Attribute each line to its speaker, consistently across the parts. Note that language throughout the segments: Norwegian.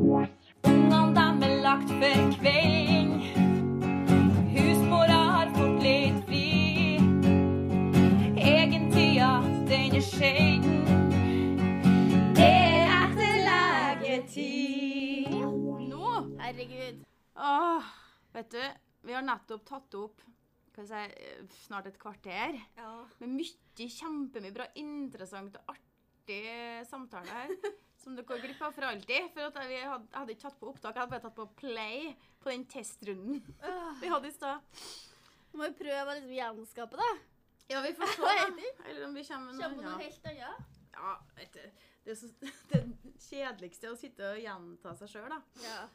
Speaker 1: Ungene dem er lagt for kvelding. Husmora har fått litt fri. Egentida, den er sjelden. Det er etter legetid.
Speaker 2: Nå?
Speaker 3: Herregud.
Speaker 2: Åh, vet du, vi har nettopp tatt opp hva skal jeg si, eh, snart et kvarter
Speaker 3: Ja.
Speaker 2: med mye kjempemye bra, interessant og artig samtale her. Som dere går glipp av for alltid. For at jeg hadde, jeg hadde ikke tatt på opptak, jeg hadde bare tatt på play på den testrunden
Speaker 3: Åh,
Speaker 2: vi hadde i stad.
Speaker 3: Må jo prøve å liksom gjenskape det.
Speaker 2: Ja, vi får se. da. Eller om vi kommer med
Speaker 3: Kjøpe
Speaker 2: noe
Speaker 3: noe
Speaker 2: annet.
Speaker 3: helt annet.
Speaker 2: Ja, vet du. Det, er så, det kjedeligste er å sitte og gjenta seg sjøl, da.
Speaker 3: Ja.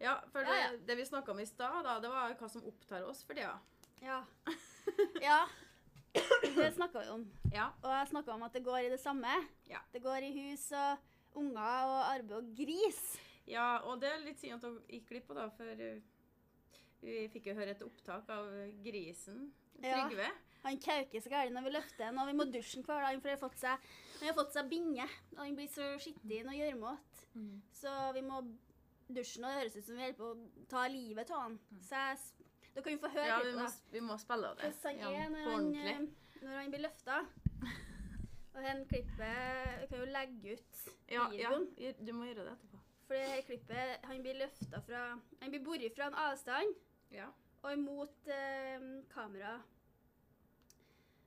Speaker 2: Ja, for det,
Speaker 3: Ja, ja.
Speaker 2: det vi snakka om i stad, da, det var hva som opptar oss for tida.
Speaker 3: Ja. ja. Det snakka vi om.
Speaker 2: Ja.
Speaker 3: Og jeg snakka om at det går i det samme.
Speaker 2: Ja.
Speaker 3: Det går i hus og unger og arbeid og gris.
Speaker 2: Ja, og det er litt synd at dere gikk glipp av, da, for eh, vi fikk jo høre et opptak av grisen
Speaker 3: Ja.
Speaker 2: Trygve.
Speaker 3: Han kauker så gærent når vi løfter han, og vi må dusje han hver dag. For han, har fått seg, han har fått seg binge, og han blir så skitten og gjørmete.
Speaker 2: Mhm.
Speaker 3: Så vi må dusje han, og det høres ut som vi holder på å ta livet av han. Så jeg, s- dere kan jo få høre
Speaker 2: Mm. Ja, vi
Speaker 3: litt på
Speaker 2: må,
Speaker 3: det.
Speaker 2: vi må spille av det.
Speaker 3: Hvordan
Speaker 2: Ja,
Speaker 3: han er når
Speaker 2: på
Speaker 3: han,
Speaker 2: ordentlig.
Speaker 3: eh, når han blir løfta. Og hen klippet Vi kan jo legge ut
Speaker 2: Ja, ja,
Speaker 3: videoen.
Speaker 2: du må gjøre det etterpå.
Speaker 3: For det her klippet Han blir løfta fra Han blir båret fra en avstand
Speaker 2: Ja.
Speaker 3: og imot eh, kameraet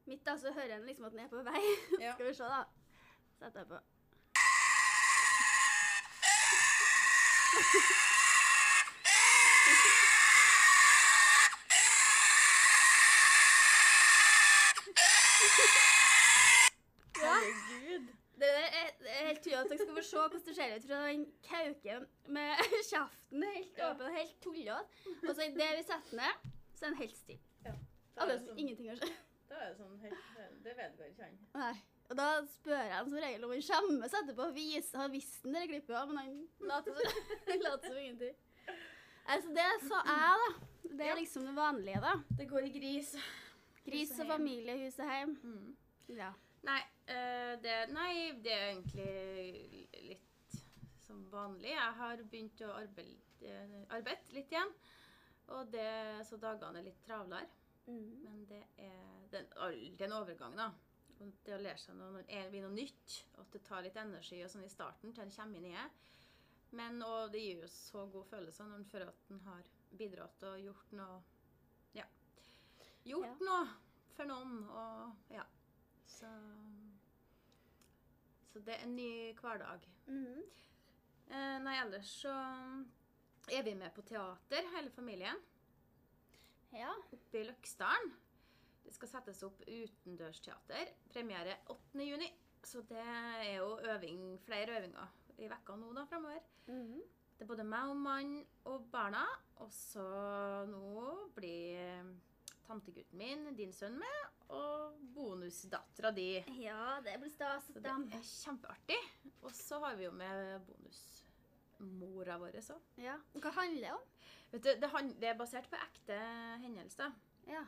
Speaker 3: mitt, da, så hører han liksom at han er på vei.
Speaker 2: Ja.
Speaker 3: Skal vi se, da. Setter jeg på.
Speaker 2: Herregud.
Speaker 3: Det der er, det er helt tydelig at dere skal få se hvordan det ser ut fra den kauken med kjeften helt
Speaker 2: Ja.
Speaker 3: åpen og helt tullete. Og så idet vi setter den ned, så er den helt stille. Akkurat som ingenting har skjedd.
Speaker 2: Da er sånn, det sånn helt Det vedgår ikke han.
Speaker 3: Nei. Og da spør jeg han som regel om han skjemmes etterpå og viser- har visst den der klippet, ja, men han later som, han later som ingenting. Altså, det sa jeg, da. Det
Speaker 2: Ja.
Speaker 3: er liksom det vanlige, da.
Speaker 2: Det går i gris.
Speaker 3: Gris
Speaker 2: Hus og
Speaker 3: og
Speaker 2: hjem.
Speaker 3: familie, hus og hjem.
Speaker 2: Mm.
Speaker 3: Ja.
Speaker 2: Nei, eh, det, nei, det er egentlig litt som vanlig. Jeg har begynt å arbeide, arbeide litt igjen. Og det, så dagene er litt travlere.
Speaker 3: Mm.
Speaker 2: Men det er, det er en all- det er en overgang, da. Og det å lære seg noe, noe, er- blir noe nytt, og at det tar litt energi og sånn i starten til en kommer inn i det. Men og det gir jo så god følelse når en føler at en har bidratt og gjort noe Ja. Gjort noe for noen, og ja. Så Så det er en ny hverdag.
Speaker 3: Mm.
Speaker 2: Eh, nei, ellers så er vi med på teater, hele familien
Speaker 3: ja.
Speaker 2: oppe i Løksdalen. Det skal settes opp utendørsteater. Premiere 8. juni. Så det er jo øving, flere øvinger i vekka nå da, fremover.
Speaker 3: Mm.
Speaker 2: Det er både meg og mannen og barna. Og så nå blir tantegutten min, din sønn, med. Og bonusdattera di.
Speaker 3: ja, det blir stas.
Speaker 2: Så det
Speaker 3: dem.
Speaker 2: er kjempeartig. Og så har vi jo med bonusmora vår òg.
Speaker 3: Ja. Hva handler det om?
Speaker 2: Vet du, det, han- det er basert på ekte hendelser.
Speaker 3: Ja.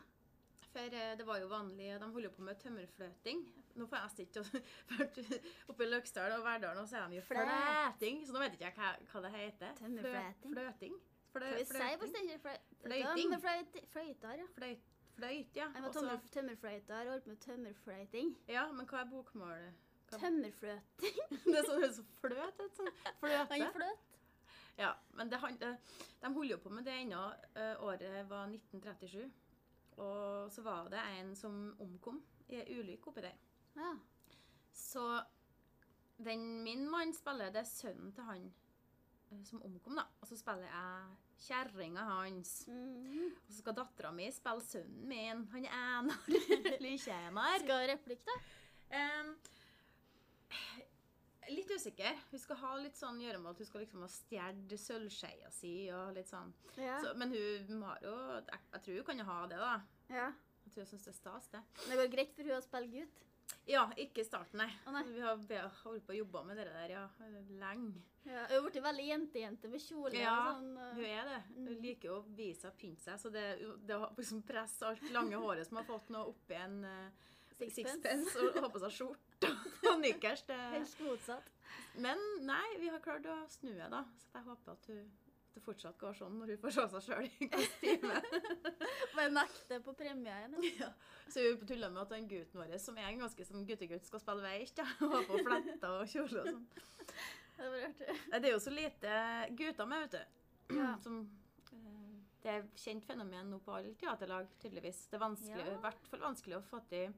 Speaker 2: For eh, det var jo vanlig, de holder jo på med tømmerfløting. Nå får jeg sitte og- for oppe i Løksdal og Verdalen, og så er de jo
Speaker 3: Fløt.
Speaker 2: fløting. Så nå vet ikke jeg hva, hva det heter. Flø-
Speaker 3: Tømmerfløting.
Speaker 2: Fløting. Flø,
Speaker 3: Hva vi sier på
Speaker 2: fløting.
Speaker 3: stedet? Fløy-
Speaker 2: Fløyting.
Speaker 3: Tømmer- fløyt- Fløytar, ja.
Speaker 2: Fløyt, fløyt, ja.
Speaker 3: Jeg var
Speaker 2: Og så-
Speaker 3: tømmer- tømmerfløytar og holdt på med tømmerfløyting.
Speaker 2: ja. Men hva er bokmålet? Hva-
Speaker 3: Tømmerfløting.
Speaker 2: Det er sånn det er så fløt ut. Sånn.
Speaker 3: Han
Speaker 2: Fløte.
Speaker 3: fløt.
Speaker 2: Ja, men det, han- det, de holder jo på med det ennå. Eh, Året var 1937. Og så var det en som omkom i ei ulykke oppi der.
Speaker 3: Ja.
Speaker 2: Så den min mann spiller, det er sønnen til han eh, som omkom, da. Og så spiller jeg kjerringa hans.
Speaker 3: Mm.
Speaker 2: Og så skal dattera mi spille sønnen min. Han er Einar Lytjenar.
Speaker 3: Skal ha replikk, da?
Speaker 2: Em, litt usikker. Hun skal ha litt sånn gjøremål at hun skal liksom ha stjålet sølvskeia si og litt sånn.
Speaker 3: Ja.
Speaker 2: Så, men hun har jo jeg, jeg tror hun kan ha det, da.
Speaker 3: ja.
Speaker 2: Jeg tror hun syns det er stas, det.
Speaker 3: Det går greit for hun å spille gutt.
Speaker 2: Ja, ikke i starten, nei.
Speaker 3: Å, nei.
Speaker 2: Vi har be- holdt på å jobbe med det der ja, lenge.
Speaker 3: Ja. Hun er blitt veldig jentejente med kjole
Speaker 2: Ja,
Speaker 3: og sånn.
Speaker 2: Hun
Speaker 3: og-
Speaker 2: er det. Hun liker jo å vise seg og pynte seg. Så det, det å liksom presse alt lange håret som har fått nå oppi en eh,
Speaker 3: Sixpence.
Speaker 2: sixpence og og ha på seg skjorte og nikkers. Det.
Speaker 3: Helt motsatt.
Speaker 2: Men nei, vi har klart å snu henne, da. Så jeg håper at hun at det fortsatt går sånn når hun får se seg sjøl i kostyme.
Speaker 3: Bare nakte på premieren.
Speaker 2: Så vi tuller med at den gutten vår, som er en ganske sånn guttegutt, skal spille veist. Ja. Og ha på fletter og kjole og sånn.
Speaker 3: Det var rart.
Speaker 2: Nei, Det er jo så lite gutter med, vet du.
Speaker 3: Ja.
Speaker 2: Som, eh, det er et kjent fenomen nå på alle teaterlag, tydeligvis. Det er vanskelig,
Speaker 3: Ja.
Speaker 2: i hvert fall vanskelig å få til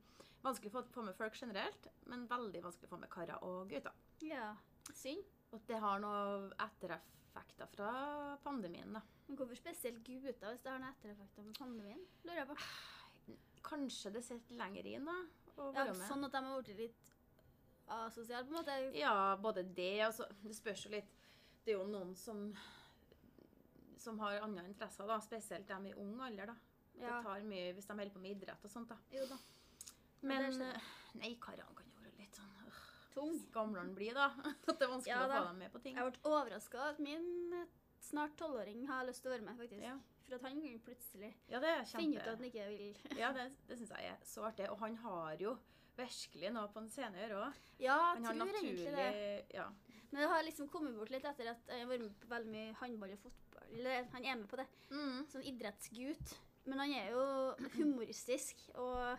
Speaker 2: Vanskelig å få- få med folk generelt, men veldig vanskelig å få med karer og gutter.
Speaker 3: Ja. Synd.
Speaker 2: Og det har noe ettereffekter fra pandemien, da.
Speaker 3: Men hvorfor spesielt gutter hvis det har noen ettereffekter med pandemien? Lurer jeg på.
Speaker 2: Kanskje det sitter lenger inn, da? Å
Speaker 3: Ja,
Speaker 2: være med.
Speaker 3: sånn at de har blitt litt asosiale, på en måte.
Speaker 2: Ja, både det altså, Det spørs jo litt. Det er jo noen som som har andre interesser, da, spesielt dem i ung alder. da.
Speaker 3: Ja.
Speaker 2: Det tar mye hvis de holder på med idrett og sånt. da.
Speaker 3: Jo da.
Speaker 2: Men
Speaker 3: det sånn- skjønner jeg.
Speaker 2: eh, nei, karene kan jo være litt sånn øh,
Speaker 3: Tung.
Speaker 2: gamle de blir, da. At det er vanskelig
Speaker 3: Ja
Speaker 2: å
Speaker 3: da.
Speaker 2: få dem med på ting.
Speaker 3: Jeg ble overraska at min eh, snart tolvåring har lyst til å være med, faktisk.
Speaker 2: Ja.
Speaker 3: For at han plutselig
Speaker 2: Ja, det er
Speaker 3: finner ut at
Speaker 2: kjempe...
Speaker 3: han ikke vil
Speaker 2: Ja, det, det syns jeg er så artig. Og han har jo virkelig noe på en scene å gjøre òg.
Speaker 3: Ja,
Speaker 2: Han
Speaker 3: jeg
Speaker 2: har
Speaker 3: tror egentlig det.
Speaker 2: naturlig Ja.
Speaker 3: Men det har liksom kommet bort litt etter at jeg har vært med på veldig mye håndball og fotball. Eller han er med på det.
Speaker 2: Mm.
Speaker 3: Sånn idrettsgutt. Men han er jo humoristisk og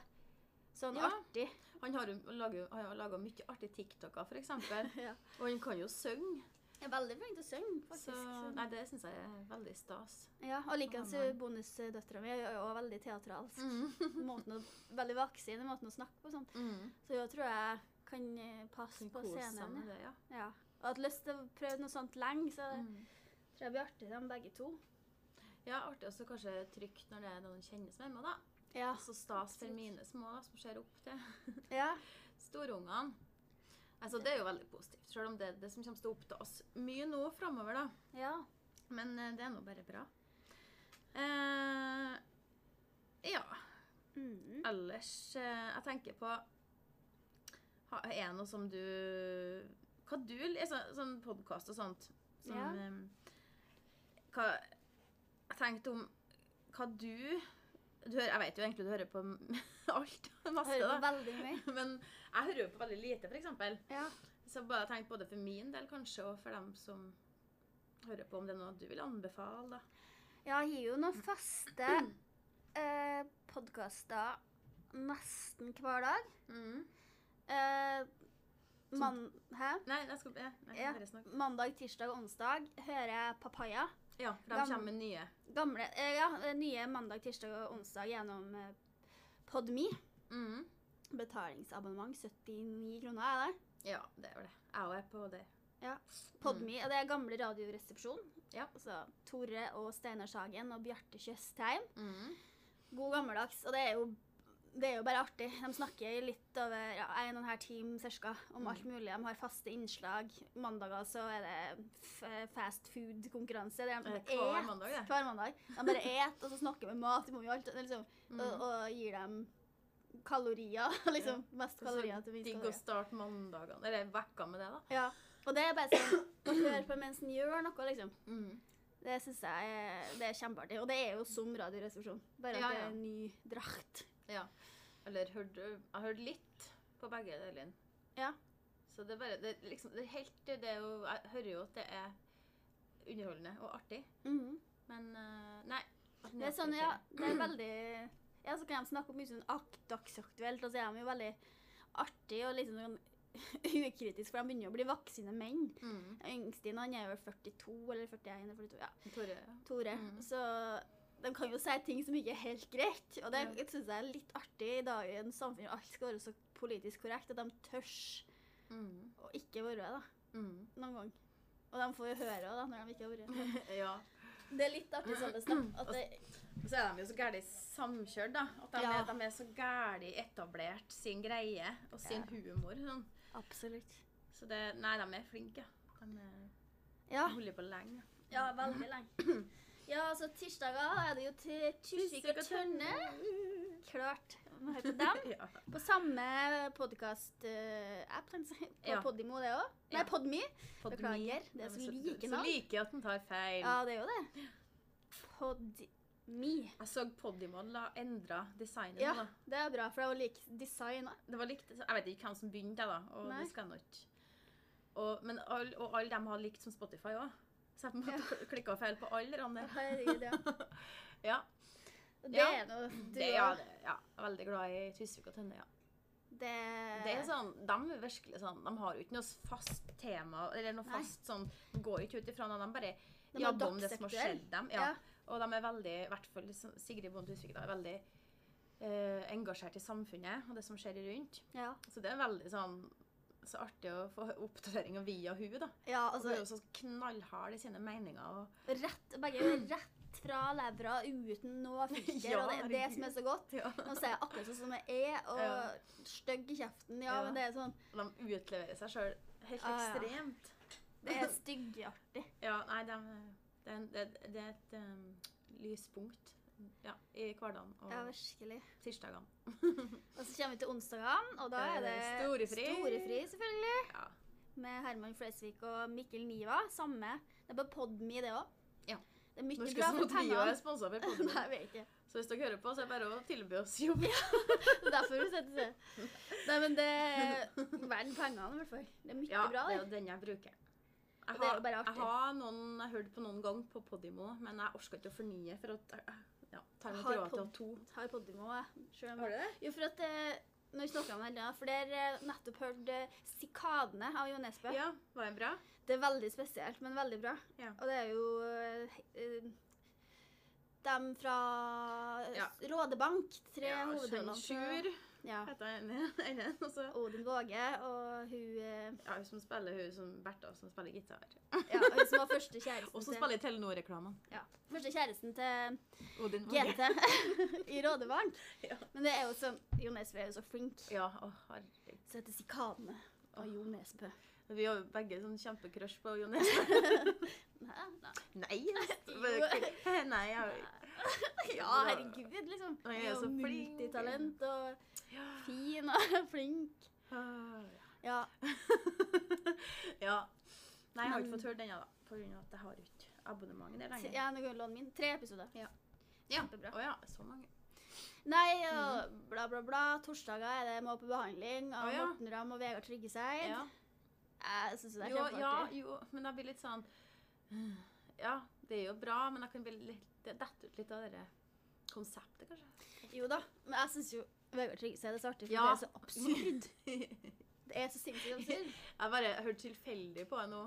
Speaker 3: sånn
Speaker 2: Ja.
Speaker 3: artig.
Speaker 2: Han har jo laget- han har laga mye artige TikToker, f.eks.
Speaker 3: Ja.
Speaker 2: Og han kan jo synge.
Speaker 3: Jeg er veldig flink til å synge, faktisk.
Speaker 2: Så,
Speaker 3: Så-
Speaker 2: nei, det syns jeg er veldig stas.
Speaker 3: Ja, og likeens
Speaker 2: Å, nei.
Speaker 3: bonusdøtra mi er jo også veldig teatralsk.
Speaker 2: Mm.
Speaker 3: Måten å, veldig vaksin i måten å snakke på og sånn. Så jeg tror jeg kan eh, passe på scenen.
Speaker 2: Det, ja. Mm.
Speaker 3: Ja. Ja. Og hadde lyst til å prøve noe sånt lenge, så tror jeg blir artig dem begge to.
Speaker 2: ja, artig også kanskje trygt når det er noen kjennes med meg, da.
Speaker 3: Ja.
Speaker 2: Og så stas for
Speaker 3: absolutt.
Speaker 2: mine små da, som ser opp til
Speaker 3: ja.
Speaker 2: storungene. Altså, det er jo veldig positivt, selv om det er det som kommer til å oppta oss mye nå framover, da.
Speaker 3: Ja.
Speaker 2: Men eh, det er nå bare bra. Eh, ja,
Speaker 3: Mm.
Speaker 2: ellers eh, Jeg tenker på ha, Er det noe som du Hva du er så, Sånn podkast og sånt som,
Speaker 3: Ja.
Speaker 2: em, Hva Jeg tenkte om hva du, du hører, Jeg vet jo egentlig du hører på alt. Masse,
Speaker 3: Hører på
Speaker 2: da.
Speaker 3: veldig mye.
Speaker 2: Men jeg hører jo på veldig lite, f.eks.
Speaker 3: Ja.
Speaker 2: Så bare tenk både for min del kanskje, og for dem som hører på, om det er noe du vil anbefale. da.
Speaker 3: Ja, jeg gir jo noen faste eh, podkaster nesten hver dag. Mm. Eh, man, hæ?
Speaker 2: Nei, jeg skal, jeg, jeg
Speaker 3: Ja.
Speaker 2: kan bare snakke.
Speaker 3: Mandag, tirsdag og onsdag hører jeg Papaya.
Speaker 2: Ja, for de
Speaker 3: Gam-
Speaker 2: kommer med nye.
Speaker 3: Gamle, eh, ja, eh, nye mandag, tirsdag og onsdag gjennom eh, Podme.
Speaker 2: Mm.
Speaker 3: Betalingsabonnement 79 kroner er det.
Speaker 2: Ja, det er jo det. Jeg òg er på det.
Speaker 3: Podme, og det er gamle Radioresepsjon.
Speaker 2: Mm. Ja.
Speaker 3: Så Tore og Steinar Sagen og Bjarte Tjøstheim.
Speaker 2: Eh,
Speaker 3: God gammeldags, og det er jo det er jo bare artig. De snakker i litt over ja, en og en halv time cirka, om
Speaker 2: Mm.
Speaker 3: alt mulig. De har faste innslag. Mandager så er det f fast food-konkurranse. der de
Speaker 2: Eh,
Speaker 3: bare
Speaker 2: hver
Speaker 3: et.
Speaker 2: mandag, det.
Speaker 3: Hver mandag. De bare et, og så snakker vi mat. Vi må jo alt, og liksom,
Speaker 2: Mm.
Speaker 3: og, og gir dem kalorier. liksom Mest
Speaker 2: Så
Speaker 3: kalorier til minst
Speaker 2: Digg å
Speaker 3: kalorier.
Speaker 2: starte mandagene, eller vekka med det, da.
Speaker 3: Ja. Og det er bare sånn å høre på mens en gjør noe, liksom.
Speaker 2: Mm.
Speaker 3: Det syns jeg er, det er kjempeartig. Og det er jo som Radioresepsjon, bare at
Speaker 2: Ja,
Speaker 3: det
Speaker 2: ja.
Speaker 3: er en ny drakt.
Speaker 2: Ja. Eller hørte Jeg hørte litt på begge delene.
Speaker 3: Ja.
Speaker 2: Så det er bare det, er liksom, det er helt det er jo, Jeg hører jo at det er underholdende og artig,
Speaker 3: Mhm.
Speaker 2: men eh, Nei. at den
Speaker 3: Det er sånn,
Speaker 2: artig.
Speaker 3: ja, det er veldig Ja, så kan de snakke om mye sånn ak dagsaktuelt, og så er de jo veldig artige og liksom sånn ukritisk, for de begynner jo å bli voksne menn.
Speaker 2: Mm.
Speaker 3: Yngstien han er jo 42 eller 41 eller 42, ja,
Speaker 2: Tore.
Speaker 3: Tore.
Speaker 2: Mm.
Speaker 3: Så de kan jo si ting som ikke er helt greit, og det
Speaker 2: Ja.
Speaker 3: synes jeg er litt artig i dagens samfunn, hvor alt skal være så politisk korrekt, at de tørs
Speaker 2: Mm.
Speaker 3: å ikke være det, da,
Speaker 2: Mm.
Speaker 3: noen gang. Og de får jo høre det, da, når de ikke har vært det.
Speaker 2: ja.
Speaker 3: Det er litt artig sånn det snakker, at det
Speaker 2: Og så er de jo så gærlig samkjørt, da. At de,
Speaker 3: Ja.
Speaker 2: er, de er så gærlig etablert sin greie og sin humor. Sånn.
Speaker 3: Absolutt.
Speaker 2: Så det Nei, de er flinke. ja. De er,
Speaker 3: Ja.
Speaker 2: holder på lenge.
Speaker 3: Ja, veldig lenge. Ja, altså tirsdager er det jo til Tusvik og Tønne. Klart. Må høre på dem.
Speaker 2: Ja.
Speaker 3: På samme podkast-app, kan jeg si. På
Speaker 2: Ja.
Speaker 3: Podimo, det òg. Nei,
Speaker 2: Ja.
Speaker 3: Podme.
Speaker 2: Podmi.
Speaker 3: Beklager, det
Speaker 2: Nei, men
Speaker 3: er så like
Speaker 2: så
Speaker 3: navn.
Speaker 2: like at den tar feil.
Speaker 3: Ja, det er jo det. Pod... Me.
Speaker 2: Jeg så Podimod la endra designet.
Speaker 3: Ja,
Speaker 2: nå, da.
Speaker 3: det er bra, for det er jo like design. da.
Speaker 2: Det var likt, Jeg vet ikke hvem som begynte, jeg, da. Og
Speaker 3: Nei.
Speaker 2: det skal jeg nå ikke. Og, men all, og alle dem har likt som Spotify òg. Så jeg på en måte klikka feil på alle. Rande.
Speaker 3: Herregud, ja.
Speaker 2: Ja,
Speaker 3: Og Det
Speaker 2: Ja,
Speaker 3: er noe du
Speaker 2: det, ja,
Speaker 3: også-
Speaker 2: det, ja. Jeg er Veldig glad i Tusvik og Tønne, ja.
Speaker 3: Det,
Speaker 2: Det
Speaker 3: Eh.
Speaker 2: er sånn, De er virkelig sånn, de har jo ikke noe fast tema eller noe
Speaker 3: Nei.
Speaker 2: fast sånn, de går ikke ut ifra noe. De bare
Speaker 3: De er
Speaker 2: jobber om det som har
Speaker 3: dagsaktuelle.
Speaker 2: skjedd dem. Ja. Og de er veldig, i hvert fall sånn- Sigrid Bonde Tusvik da, er veldig eh, engasjert i samfunnet og det som skjer rundt.
Speaker 3: Ja.
Speaker 2: Så det er veldig sånn så artig å få oppdateringer via hun da.
Speaker 3: ja,
Speaker 2: Og hun er
Speaker 3: altså
Speaker 2: jo så knallhard i sine meninger. Og,
Speaker 3: rett, Begge er rett fra levra uten noe filter.
Speaker 2: Ja,
Speaker 3: og det er det som er så godt.
Speaker 2: ja.
Speaker 3: Nå sier jeg akkurat sånn som jeg er, og
Speaker 2: Ja.
Speaker 3: stygg i kjeften. Ja,
Speaker 2: Ja.
Speaker 3: men det er sånn
Speaker 2: og de utleverer seg sjøl helt
Speaker 3: Ja, ja.
Speaker 2: ekstremt.
Speaker 3: Det er styggartig.
Speaker 2: Ja, nei, det er, det er, en- det, det er et um, lyspunkt ja, i hverdagen og
Speaker 3: Ja, virkelig.
Speaker 2: tirsdagene.
Speaker 3: Og så kommer vi til onsdagene, og da
Speaker 2: Da er
Speaker 3: er det
Speaker 2: det storefri.
Speaker 3: storefri, selvfølgelig.
Speaker 2: Ja.
Speaker 3: Med Herman Flesvig og Mikkel Niva. Samme. Det er på Podme, det òg.
Speaker 2: Ja.
Speaker 3: Det er mye
Speaker 2: Norske
Speaker 3: bra for
Speaker 2: Småtrio er
Speaker 3: pengene.
Speaker 2: sponsa for
Speaker 3: Nei,
Speaker 2: podden.
Speaker 3: jeg vet ikke.
Speaker 2: Så hvis dere hører på, så er det bare å tilby oss jobb.
Speaker 3: Det er Derfor du setter seg. Nei, men det er verdt pengene, i hvert fall. Det er mye
Speaker 2: Ja, det
Speaker 3: bra,
Speaker 2: er
Speaker 3: det.
Speaker 2: jo den jeg bruker. Jeg
Speaker 3: Og det er
Speaker 2: har,
Speaker 3: jo bare
Speaker 2: jeg
Speaker 3: artig.
Speaker 2: har noen jeg hørte på noen gang på Podimo, men jeg orker ikke å fornye. For at jeg ja, tar meg
Speaker 3: Har
Speaker 2: ikke råd til å ha
Speaker 3: pod-
Speaker 2: to.
Speaker 3: Har Podimo, jeg. Selv om-
Speaker 2: du det?
Speaker 3: Jo, for at eh, når vi snakket om det, her, for der eh, nettopp hørt eh, 'Sikadene' av Jo Nesbø.
Speaker 2: Ja, var det bra?
Speaker 3: Det er veldig spesielt, men veldig bra.
Speaker 2: Ja.
Speaker 3: Og det er jo eh, eh, dem fra
Speaker 2: Ja.
Speaker 3: Rådebank, tre
Speaker 2: Ja,
Speaker 3: hovedrollene. fra-
Speaker 2: Sjur
Speaker 3: Ja.
Speaker 2: heter jeg ene- ene. Og så
Speaker 3: Odin Våge og hun eh,
Speaker 2: ja, hun som spiller hun som Bertha, som spiller gitar.
Speaker 3: Ja, hun som var første kjæresten
Speaker 2: Og som
Speaker 3: til
Speaker 2: spiller i Telenor-reklamen.
Speaker 3: ja, Første kjæresten til
Speaker 2: Odin. var det.
Speaker 3: GT i Rådebank.
Speaker 2: Ja.
Speaker 3: Men det er jo sånn Jo Nesbø er jo så flink.
Speaker 2: Ja, å, herregud.
Speaker 3: Så heter Sikadene av Jo Nesbø.
Speaker 2: Vi har jo begge sånn kjempecrush på Jo Nesbø.
Speaker 3: Nei, nei.
Speaker 2: Nei!
Speaker 3: Jo.
Speaker 2: Nei, jeg
Speaker 3: Ja, herregud, liksom.
Speaker 2: Han er
Speaker 3: Han er
Speaker 2: jo
Speaker 3: jo
Speaker 2: så flink.
Speaker 3: multitalent og
Speaker 2: Ja.
Speaker 3: fin og flink.
Speaker 2: Ah,
Speaker 3: Ja.
Speaker 2: ja. ja. Nei, jeg har
Speaker 3: Men-
Speaker 2: ikke fått hørt den ennå, da. På grunn av at jeg har ikke abonnementet der lenger.
Speaker 3: Ja, nå går lånen min. Tre episoder.
Speaker 2: Ja.
Speaker 3: kjempebra.
Speaker 2: Å ja, så mange.
Speaker 3: Nei, og bla, bla, bla. Torsdager er det Må på behandling av
Speaker 2: Å, ja.
Speaker 3: Morten Ramm og Vegard Tryggeseid.
Speaker 2: Ja.
Speaker 3: Jeg syns det er
Speaker 2: Jo, ja,
Speaker 3: kjempeartig.
Speaker 2: jo, men jeg blir litt sånn Ja, det er jo bra, men jeg kan bli litt det detter ut litt av det der konseptet, kanskje.
Speaker 3: Jo, da. Men jeg syns jo Vegard Tryggeseid er så artig, for
Speaker 2: Ja.
Speaker 3: det er så absurd. Det er så sinnssykt absurd.
Speaker 2: Jeg bare hørte tilfeldig på det nå.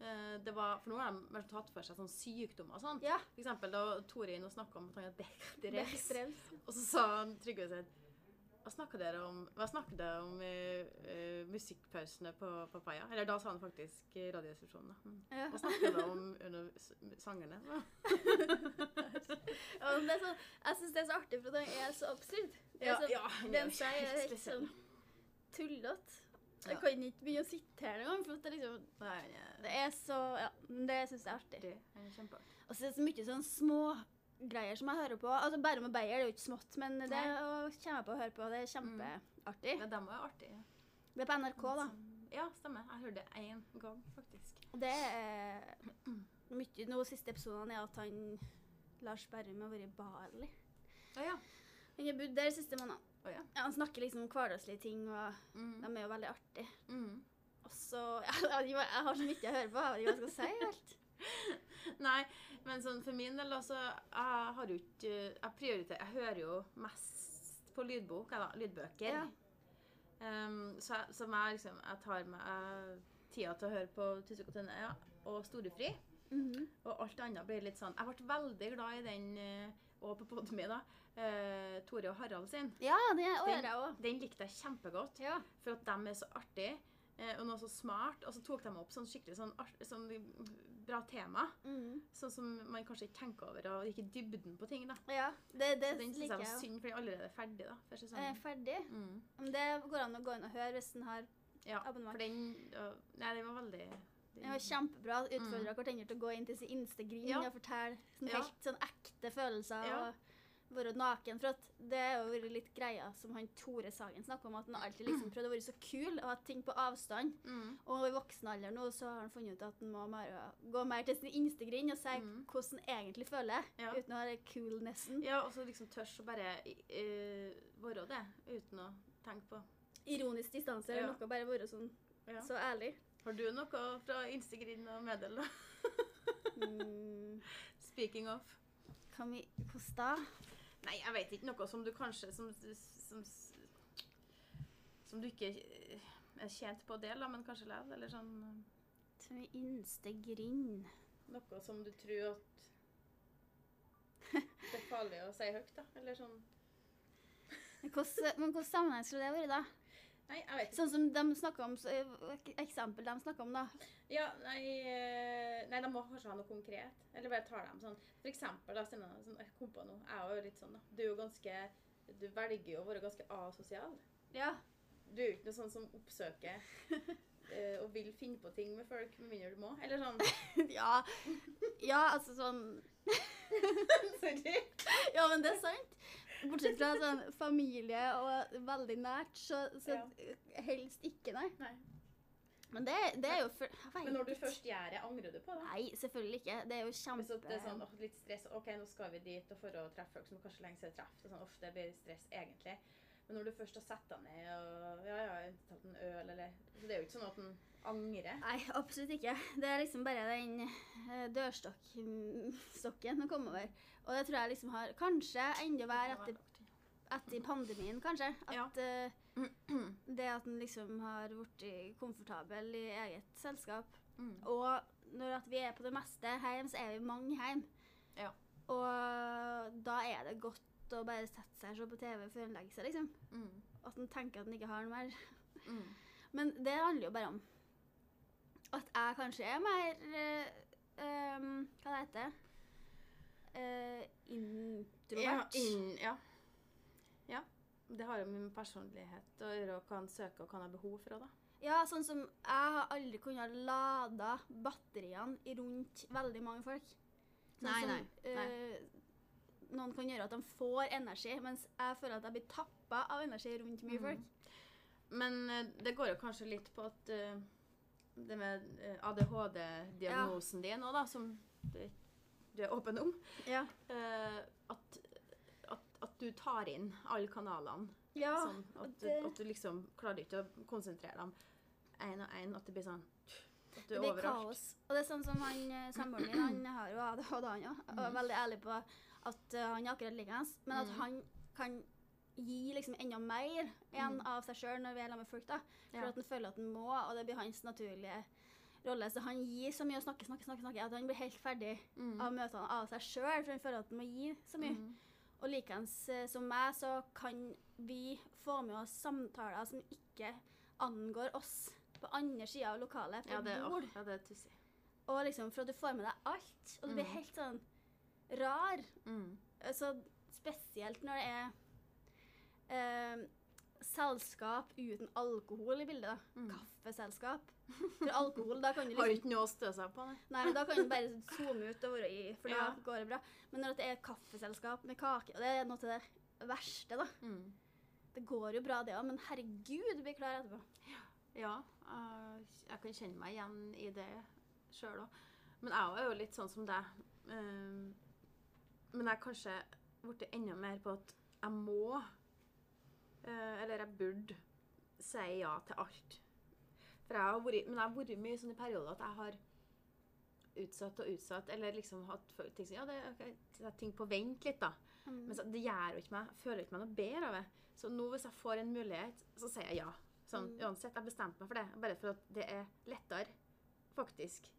Speaker 2: Eh, Det var, for nå har de vært tatt for seg sånn sykdommer og sånn.
Speaker 3: Ja.
Speaker 2: For eksempel da Tore inn og snakka om at han hadde
Speaker 3: Det er
Speaker 2: Bechdels.
Speaker 3: ekstremt.
Speaker 2: Og så sa han Trygve sitt Hva snakker dere om, hva snakker dere om i eh, musikkpausene på Papaya? Eller da sa han faktisk i Radioresepsjonen. da. Mm.
Speaker 3: Ja.
Speaker 2: Hva snakker dere om under s- sangerne?
Speaker 3: Ja, men det er så, jeg syns det er så artig, for det er så absurd. Det er så,
Speaker 2: han er
Speaker 3: Den seg er
Speaker 2: helt
Speaker 3: helt
Speaker 2: spesiell.
Speaker 3: sånn tullete.
Speaker 2: Ja.
Speaker 3: Jeg kan ikke begynne å sitere engang, for at det, liksom,
Speaker 2: Nei, han er-
Speaker 3: det er så Ja, men det syns jeg er artig.
Speaker 2: det- han er kjempeartig.
Speaker 3: Og så er det så mye sånn små greier som jeg hører på. Altså Bærum og Beyer det er jo ikke smått, men det å- kommer jeg på å høre på. og Det er kjempeartig.
Speaker 2: Ja, dem er artige.
Speaker 3: Det er på NRK, da.
Speaker 2: Ja, stemmer. Jeg hørte det én gang, faktisk.
Speaker 3: Og det er mye Nå siste episoden er at han Lars Berrum har vært i Bali.
Speaker 2: Å ja.
Speaker 3: Han har bodd der de siste månedene.
Speaker 2: Å ja.
Speaker 3: Ja, han snakker liksom om hverdagslige ting, og
Speaker 2: Mm.
Speaker 3: de er jo veldig artige.
Speaker 2: Mm.
Speaker 3: Og så ja, Jeg vet ikke hva- jeg har så mye jeg hører på, jeg vet ikke hva jeg skal si helt.
Speaker 2: Nei, men sånn for min del, altså Jeg har jo ikke Jeg prioriterer Jeg hører jo mest på lydbok, jeg, da. Lydbøker.
Speaker 3: Ja.
Speaker 2: Ehm, så jeg, som jeg liksom Jeg tar meg eh, tida til å høre på Tusvik og Tønne ja, og Storefri.
Speaker 3: Mhm.
Speaker 2: Og alt annet blir litt sånn Jeg ble veldig glad i den, eh, og på Podme, da, eh, Tore og Harald sin.
Speaker 3: Ja, det
Speaker 2: Den-
Speaker 3: hører jeg òg.
Speaker 2: Den likte jeg kjempegodt,
Speaker 3: Ja.
Speaker 2: for at de er så artige. eh, Og noe så smart, og så tok de opp sånn skikkelig sånn, art- sånn bra tema.
Speaker 3: Mhm.
Speaker 2: Sånn som man kanskje ikke tenker over og gikk i dybden på ting. da.
Speaker 3: ja. Det, det
Speaker 2: Den synes jeg
Speaker 3: liker jeg
Speaker 2: var
Speaker 3: òg.
Speaker 2: synd, for den er allerede ferdig da, for
Speaker 3: Er jeg
Speaker 2: sesongen.
Speaker 3: ferdig?
Speaker 2: Mm.
Speaker 3: Men det går an å gå inn og høre hvis den har
Speaker 2: Ja,
Speaker 3: Abonnement.
Speaker 2: for den ja, Nei, den var veldig den-
Speaker 3: Den var kjempebra. Utfordra hverandre til å gå inn til sin innerste grind
Speaker 2: Mm. Ja.
Speaker 3: og fortelle sånn
Speaker 2: Ja.
Speaker 3: helt sånn ekte følelser.
Speaker 2: Ja.
Speaker 3: Og være naken. For at det har jo vært litt greia som han Tore Sagen snakker om, at han alltid liksom prøvd å være så kul og ha ting på avstand.
Speaker 2: Mm.
Speaker 3: Og i voksen alder nå så har han funnet ut at han må bare gå mer til sin innerste grind og si
Speaker 2: Mm.
Speaker 3: hvordan han egentlig føler,
Speaker 2: Ja.
Speaker 3: uten å ha den coolnessen.
Speaker 2: Ja, og så liksom tørs å bare eh, være det, uten å tenke på.
Speaker 3: Ironisk distanse eller
Speaker 2: Ja.
Speaker 3: noe, bare være sånn
Speaker 2: Ja.
Speaker 3: så ærlig.
Speaker 2: Har du noe fra Instegrin å meddele, da?
Speaker 3: Mm,
Speaker 2: Speaking of.
Speaker 3: kan vi Hvordan da?
Speaker 2: Nei, jeg vet ikke. Noe som du kanskje Som, som, som du ikke eh, er tjent på å dele, da, men kanskje likevel. Eller sånn eh,
Speaker 3: Til min innerste grind.
Speaker 2: Noe som du tror at Det er farlig å si høyt, da. Eller sånn
Speaker 3: Men hvordan- men hvilken sammenheng skulle det vært, da?
Speaker 2: Nei, jeg vet ikke.
Speaker 3: Sånn som de snakker om, så, eh, Eksempel de snakker om, da.
Speaker 2: Ja, nei, eh, nei, de må kanskje ha noe konkret. Eller bare ta dem sånn. For eksempel, da, Stina, sånn, jeg kom på noe. Jeg er jo litt sånn, da. Du er jo ganske Du velger jo å være ganske asosial.
Speaker 3: Ja.
Speaker 2: Du er jo ikke noe sånn som oppsøker eh, og vil finne på ting med folk, med mindre du må. Eller sånn.
Speaker 3: ja. Ja, altså sånn
Speaker 2: Sorry.
Speaker 3: Ja, men det er sant. Bortsett fra sånn familie og veldig nært, så, så helst ikke, nei.
Speaker 2: Nei.
Speaker 3: Men det, det er jo for, jeg vet
Speaker 2: Men når du
Speaker 3: ikke.
Speaker 2: først gjør det, angrer du på det?
Speaker 3: Nei, selvfølgelig ikke. Det er jo
Speaker 2: Hvis
Speaker 3: kjempe
Speaker 2: at det er sånn, åh, litt stress, ok, nå skal vi dit og for å treffe folk som kanskje lenge siden treffe, sånn, uff, det blir stress egentlig. Men når du først har sett deg ned og ja, ja, jeg har tatt en øl eller så Det er jo ikke sånn at en angrer.
Speaker 3: Nei, absolutt ikke. Det er liksom bare den eh, dørstokken å komme over. Og det tror jeg liksom har Kanskje enda verre etter, etter pandemien, kanskje. At
Speaker 2: Ja.
Speaker 3: eh, det at en liksom har blitt komfortabel i eget selskap.
Speaker 2: Mm.
Speaker 3: Og når at vi er på det meste hjem, så er vi mange hjem.
Speaker 2: Ja.
Speaker 3: Og da er det godt å bare sette seg og se på TV før en legger seg, liksom.
Speaker 2: Mm.
Speaker 3: At en tenker at en ikke har noe mer.
Speaker 2: Mm.
Speaker 3: Men det handler jo bare om at jeg kanskje er mer eh, ehm, Hva det heter det? introvert.
Speaker 2: Ja, inn, ja. ja. Det har jo med personlighet å gjøre, og hva en søker og hva en har behov for. da.
Speaker 3: Ja, sånn som jeg har aldri kunnet lade batteriene rundt veldig mange folk. Sånn
Speaker 2: Nei,
Speaker 3: som,
Speaker 2: nei, nei.
Speaker 3: eh, noen kan gjøre at de får energi, mens jeg føler at jeg blir tappa av energi rundt mye
Speaker 2: Mhm.
Speaker 3: folk.
Speaker 2: Men eh, det går jo kanskje litt på at eh, det med eh, ADHD-diagnosen din òg, da, som du, du er åpen om
Speaker 3: Ja.
Speaker 2: eh, at, at, at du tar inn alle kanalene.
Speaker 3: ja.
Speaker 2: sånn at,
Speaker 3: og
Speaker 2: du,
Speaker 3: det-
Speaker 2: at du liksom klarer ikke å konsentrere dem én og én. At det blir sånn At du
Speaker 3: Det
Speaker 2: er
Speaker 3: blir
Speaker 2: overalt.
Speaker 3: kaos. Og det er sånn som han eh, samboeren min, han har jo ADHD, han òg, og er veldig ærlig på at eh, han er akkurat likeens, men at
Speaker 2: Mhm.
Speaker 3: han kan gi liksom enda mer enn av seg sjøl når vi er sammen med folk, da. For
Speaker 2: Mhm. Ja.
Speaker 3: at han føler at han må, og det blir hans naturlige rolle. Så han gir så mye og snakker, snakker, snakker, snakker at han blir helt ferdig
Speaker 2: Mm.
Speaker 3: av møtene av seg sjøl, for han føler at han må gi så mye.
Speaker 2: Mm.
Speaker 3: Og likeens eh, som meg, så kan vi få med oss samtaler som ikke angår oss, på andre sida av lokalet, på
Speaker 2: Ja, det,
Speaker 3: et
Speaker 2: åh,
Speaker 3: bord.
Speaker 2: ja, det er tussig.
Speaker 3: Og liksom for at du får med deg alt, og du blir
Speaker 2: Mm.
Speaker 3: helt sånn rar.
Speaker 2: Mm.
Speaker 3: Altså, spesielt når det er eh, selskap uten alkohol i bildet. da.
Speaker 2: Mm.
Speaker 3: Kaffeselskap. For alkohol, da kan du
Speaker 2: Har
Speaker 3: liksom
Speaker 2: ikke noe å stø seg på, nei.
Speaker 3: Nei, da kan du bare zoome ut og være i, for da
Speaker 2: Ja.
Speaker 3: går det bra. Men når det er kaffeselskap med kake, og det er noe til det verste, da.
Speaker 2: Mm.
Speaker 3: Det går jo bra, det òg, men herregud, du blir klar etterpå.
Speaker 2: Ja, eh, jeg kan kjenne meg igjen i det sjøl òg. Men jeg er jo litt sånn som deg. Ehm, men jeg er kanskje blitt enda mer på at jeg må, eh, eller jeg burde, si ja til alt. For jeg har vært, men jeg har vært mye sånn i perioder at jeg har utsatt og utsatt, eller liksom hatt folk- ting som Ja, det er ok, sett ting på vent litt, da. Men så, det gjør jo ikke meg, jeg føler jo ikke meg noe bedre av det. Så nå hvis jeg får en mulighet, så sier jeg ja. Sånn,
Speaker 3: Mm.
Speaker 2: Uansett, jeg bestemte meg for det. Bare for at det er lettere, faktisk,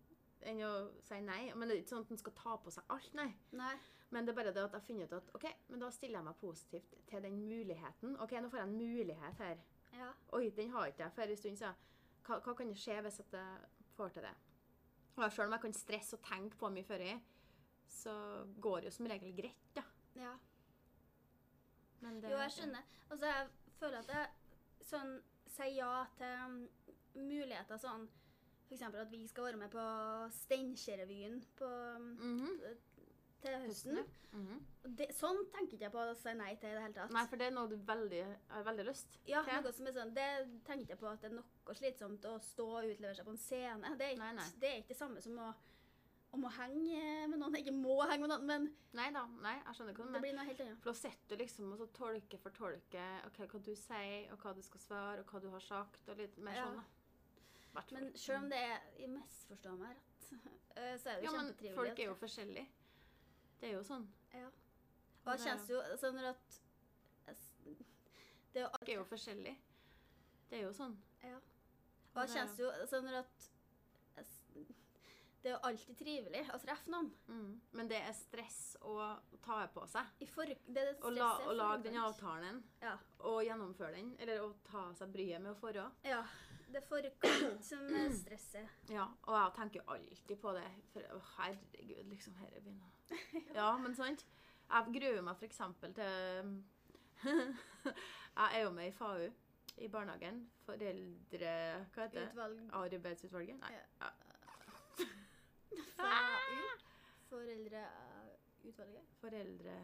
Speaker 2: enn å si nei. Men det er ikke sånn at en skal ta på seg alt, nei.
Speaker 3: Nei.
Speaker 2: Men det er bare det at jeg finner ut at OK, men da stiller jeg meg positivt til den muligheten. OK, nå får jeg en mulighet her.
Speaker 3: Ja.
Speaker 2: Oi, den har ikke jeg for en stund siden. Hva, hva kan det skje hvis at jeg får til det? Og selv om jeg kan stresse og tenke på mye før jeg, så går det jo som regel greit, da.
Speaker 3: ja.
Speaker 2: Men det-
Speaker 3: Jo, jeg skjønner. Og så jeg føler at jeg sånn, sier ja til um, muligheter sånn F.eks. at vi skal være med på Steinkjerrevyen på um,
Speaker 2: Mhm.
Speaker 3: til høsten.
Speaker 2: Mhm.
Speaker 3: Og Det, sånn tenker ikke jeg på å si nei til i det hele tatt.
Speaker 2: Nei, for det er noe du veldig, har veldig lyst
Speaker 3: ja,
Speaker 2: til.
Speaker 3: noe som er sånn, Det tenker ikke jeg på at det er noe slitsomt å stå og utlevere seg på en scene. Det er ikke,
Speaker 2: Nei, nei.
Speaker 3: Det, er ikke det samme som å, om å henge med noen. Ikke må henge med noen, men
Speaker 2: Nei da, nei, jeg skjønner hva du
Speaker 3: det
Speaker 2: mener.
Speaker 3: blir noe helt annet.
Speaker 2: For da sitter du liksom og så tolke for tolke ok, hva du sier, og hva du skal svare, og hva du har sagt, og litt mer
Speaker 3: Ja.
Speaker 2: sånn, da. Hvert
Speaker 3: Men
Speaker 2: fall.
Speaker 3: selv om det er i misforstå meg rett, eh, så er det
Speaker 2: ja,
Speaker 3: jo
Speaker 2: men
Speaker 3: kjempetrivelig.
Speaker 2: folk er jo
Speaker 3: at-
Speaker 2: forskjellige. Det er jo sånn.
Speaker 3: ja. Og det
Speaker 2: Det er
Speaker 3: kjennes jo sånn at jeg s- Det er jo
Speaker 2: Folk er jo forskjellige. Det er jo sånn.
Speaker 3: Ja. Og jeg
Speaker 2: det er
Speaker 3: kjennes jo sånn at jeg s- Det er jo alltid trivelig å treffe noen.
Speaker 2: Mm. Men det er stress å ta på seg.
Speaker 3: I for, det er det
Speaker 2: Å la,
Speaker 3: stresset
Speaker 2: å lage den
Speaker 3: forkant.
Speaker 2: avtalen,
Speaker 3: Ja.
Speaker 2: og gjennomføre den, eller å ta seg bryet med å forå.
Speaker 3: ja. Det er forkant som er stresset.
Speaker 2: Ja, og jeg tenker jo alltid på det. For å, herregud, liksom, her er begynner. Ja, men sant? Jeg gruer meg f.eks. til Jeg er jo med i FAU i barnehagen. Foreldre... Hva heter det?
Speaker 3: Utvalg
Speaker 2: Arbeidsutvalget? Nei. Ah!
Speaker 3: FAU. Foreldreutvalget.
Speaker 2: Foreldre...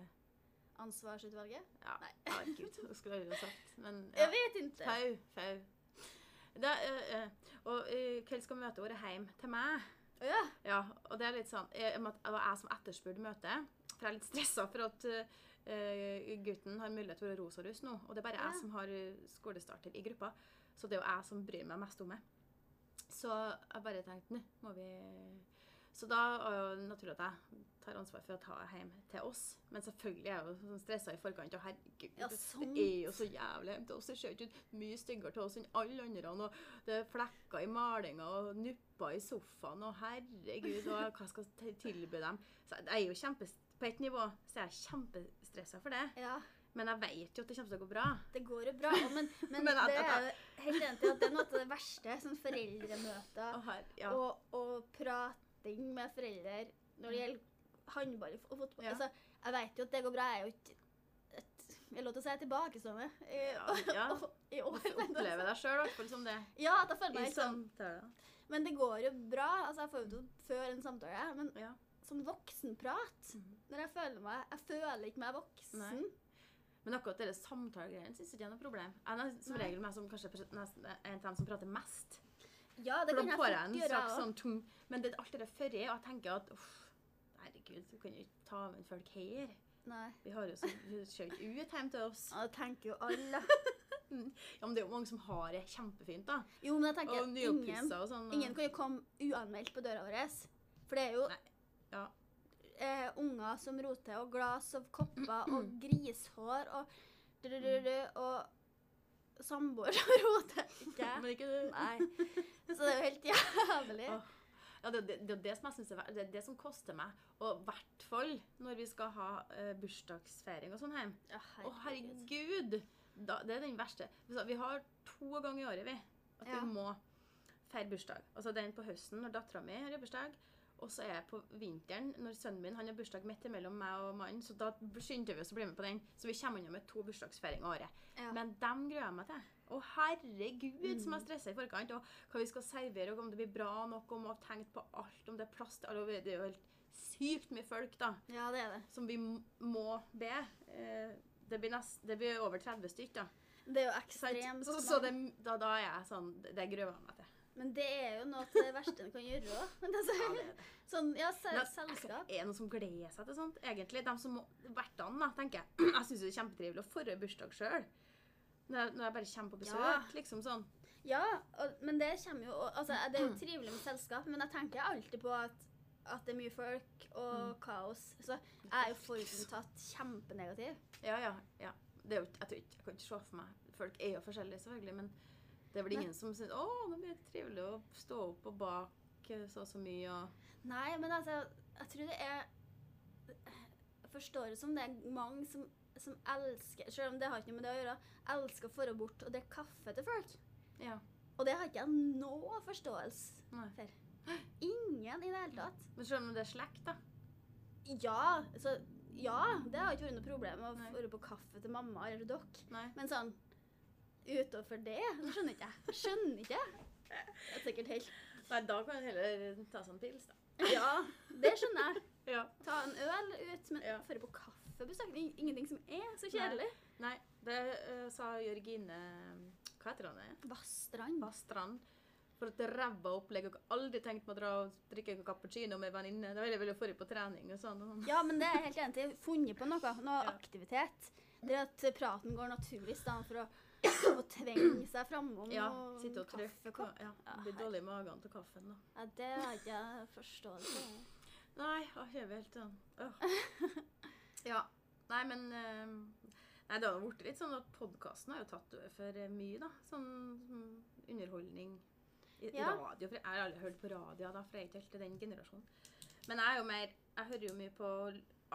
Speaker 3: Ansvarsutvalget.
Speaker 2: Ja,
Speaker 3: Nei.
Speaker 2: herregud. Jeg skulle aldri ha sagt men ja.
Speaker 3: Jeg vet ikke.
Speaker 2: FAU. FAU. Da, eh, eh, og eh, hvem skal møte våre hjem til meg?
Speaker 3: Å ja.
Speaker 2: Ja, og det er litt sånn jeg, jeg må- Det var jeg som etterspurte møtet. For jeg er litt stressa for at eh, gutten har mulighet for å rose og rus nå. Og det er bare
Speaker 3: Ja.
Speaker 2: jeg som har eh, skolestarter i gruppa. Så det er jo jeg som bryr meg mest om det. Så jeg bare tenkte nå må vi Så da er jo naturlig at jeg tar ansvar for å ta hjem til oss. Men selvfølgelig er jeg jo sånn stressa i forkant. Og herregud,
Speaker 3: Ja, sant.
Speaker 2: det er jo så jævlig hjem til oss. Det ser jo ikke ut mye styggere til oss enn alle andre. Og det er flekker i malinga og nupper i sofaen. Og herregud, og hva skal jeg tilby dem? Så jeg er jo kjempe, på et nivå så er jeg kjempestressa for det.
Speaker 3: ja.
Speaker 2: Men jeg vet jo at det kommer til å gå bra.
Speaker 3: Det går jo bra. og Men, men,
Speaker 2: Men at-
Speaker 3: det
Speaker 2: at-
Speaker 3: er jo helt enig i at det er noe av det verste. Sånn foreldremøter
Speaker 2: Og her, ja.
Speaker 3: og, og prating med foreldre når det gjelder håndball og fotball.
Speaker 2: Mm. Ja.
Speaker 3: Altså, jeg vet jo at det går bra. Jeg er jo ikke et, Jeg er lov til å si jeg er tilbakestående i,
Speaker 2: Ja, ja.
Speaker 3: i år.
Speaker 2: Du opplever deg sjøl i hvert fall som det.
Speaker 3: Ja, at jeg føler meg helt sånn.
Speaker 2: samtaler.
Speaker 3: Men det går jo bra. Altså, jeg får jo det før en samtale. Men
Speaker 2: Ja. Mm.
Speaker 3: sånn voksenprat Når jeg føler meg Jeg føler ikke meg voksen.
Speaker 2: Nei. Men akkurat dere samtalegreiene syns ikke jeg er noe problem. Jeg er nes- som
Speaker 3: Nei.
Speaker 2: regel meg som kanskje pres- nesten er en av dem som prater mest.
Speaker 3: Ja, det
Speaker 2: For
Speaker 3: kan
Speaker 2: da
Speaker 3: jeg
Speaker 2: får
Speaker 3: fort
Speaker 2: jeg en
Speaker 3: gjøre.
Speaker 2: slags
Speaker 3: også.
Speaker 2: sånn tung Men det er alt det der førre, og jeg tenker at uff, herregud, du kan jo ikke ta med folk her.
Speaker 3: Nei.
Speaker 2: Vi har jo så vi ser jo ikke ut hjem til oss.
Speaker 3: Ja, det tenker jo alle.
Speaker 2: Ja, men det er jo mange som har det kjempefint, da.
Speaker 3: Jo, men jeg tenker
Speaker 2: Og
Speaker 3: at ingen,
Speaker 2: nyoppussa og sånn. og-
Speaker 3: ingen kan jo komme uanmeldt på døra vår. For det er jo
Speaker 2: Nei, ja.
Speaker 3: eh, unger som roter, og glass og kopper og
Speaker 2: Mm.
Speaker 3: grishår og drururu, og samboer som roter. Ikke jeg.
Speaker 2: Men ikke du.
Speaker 3: Nei. Så det er jo helt jævlig.
Speaker 2: Åh. Ja, det, det, det er det som jeg synes er, ver- det, er det som koster meg. Og i hvert fall når vi skal ha eh, bursdagsfeiring og sånn hjem.
Speaker 3: Ja,
Speaker 2: Å, herregud! Da, det er den verste. Vi sa- Vi har to ganger i året, vi, at
Speaker 3: Ja.
Speaker 2: vi må feire bursdag. Altså den på høsten når dattera mi har bursdag, og så er jeg på vinteren når sønnen min han har bursdag midt imellom meg og mannen, så da skynder vi oss å bli med på den. Så vi kommer unna med to bursdagsfeiringer i året.
Speaker 3: Ja. Mm.
Speaker 2: Men dem gruer jeg meg til. Å, herregud, som jeg stresser i forkant. Og hva vi skal servere, og om det blir bra nok, om å ha tenkt på alt, om det er plass til alle. Det er jo helt sykt mye folk, da
Speaker 3: Ja, det er det.
Speaker 2: som vi m- må be. Eh, det, blir nest, det blir over 30 stykk, da.
Speaker 3: Det er jo
Speaker 2: Så,
Speaker 3: ekstremt.
Speaker 2: så, så
Speaker 3: mange.
Speaker 2: det, da, da er jeg sånn Det det gruer jeg meg til.
Speaker 3: Men det er jo noe av det verste en kan gjøre òg.
Speaker 2: Ja, det er det.
Speaker 3: Sånn, ja, se-
Speaker 2: Men altså,
Speaker 3: selskap.
Speaker 2: Er det noen som gleder seg til sånt, egentlig? De som må Vertene, da, tenker jeg. Jeg syns det er kjempetrivelig å forre bursdag sjøl. Når, jeg- når jeg bare kommer på besøk,
Speaker 3: Ja.
Speaker 2: liksom sånn.
Speaker 3: Ja, og, men det kommer jo og- Altså, det er jo trivelig med selskap, men jeg tenker alltid på at, at det er mye folk og kaos. Så jeg er jo forutinntatt kjempenegativ.
Speaker 2: Ja, ja. ja. Det er jo, ikke- jeg, tror ikke, jeg kan ikke se for meg Folk er jo forskjellige, selvfølgelig, men det er vel
Speaker 3: Nei.
Speaker 2: ingen som syns Å, nå blir det trivelig å stå opp og bake så og så mye og
Speaker 3: Nei, men altså, jeg tror det er Jeg forstår det som det er mange som, som elsker Selv om det har ikke noe med det å gjøre, elsker å dra bort og drikke kaffe til folk.
Speaker 2: Ja.
Speaker 3: Og det har ikke jeg noe forståelse
Speaker 2: Nei.
Speaker 3: for. Ingen i det hele tatt.
Speaker 2: Men selv om det er slekt, da.
Speaker 3: Ja, så, ja, det har ikke vært noe problem å
Speaker 2: Nei.
Speaker 3: få på kaffe til mamma eller til dere.
Speaker 2: Nei.
Speaker 3: Men sånn utover det, så skjønner ikke jeg. Jeg Skjønner ikke. Det er sikkert helt
Speaker 2: Nei, da kan du heller ta seg en pils, da.
Speaker 3: Ja, det skjønner jeg.
Speaker 2: Ja.
Speaker 3: Ta en øl ut, men
Speaker 2: Ja.
Speaker 3: føre på kaffebesøk det er ing- ingenting som er så kjedelig.
Speaker 2: Nei, det eh, sa Jørgine Hva heter han? eh?
Speaker 3: Vassstrand.
Speaker 2: Bastrand. For et ræva opplegg. Og aldri tenkt på å dra og drikke en cappuccino med venninne. Det var jeg ville forrige på trening og sånn. og sånn.
Speaker 3: Ja, men det er jeg helt enig i. Funnet på noe. Noe
Speaker 2: Ja.
Speaker 3: aktivitet. Det at praten går naturlig i stedet for å, å tvinge seg framom
Speaker 2: Ja,
Speaker 3: og
Speaker 2: sitte og trykke.
Speaker 3: Mm, kaffekopp.
Speaker 2: Ja,
Speaker 3: Ja,
Speaker 2: blir dårlig i magen til kaffen, da.
Speaker 3: Ja, det har ikke jeg forståelse for.
Speaker 2: Nei, åh, jeg er helt sånn åh. Ja. Nei, men eh, Nei, det har blitt litt sånn at podkasten har jo tatt over for eh, mye, da. Sånn mm, underholdning. I, i
Speaker 3: Ja.
Speaker 2: radio. For jeg har aldri hørt på radio, da, for jeg er ikke helt i den generasjonen. Men jeg er jo mer Jeg hører jo mye på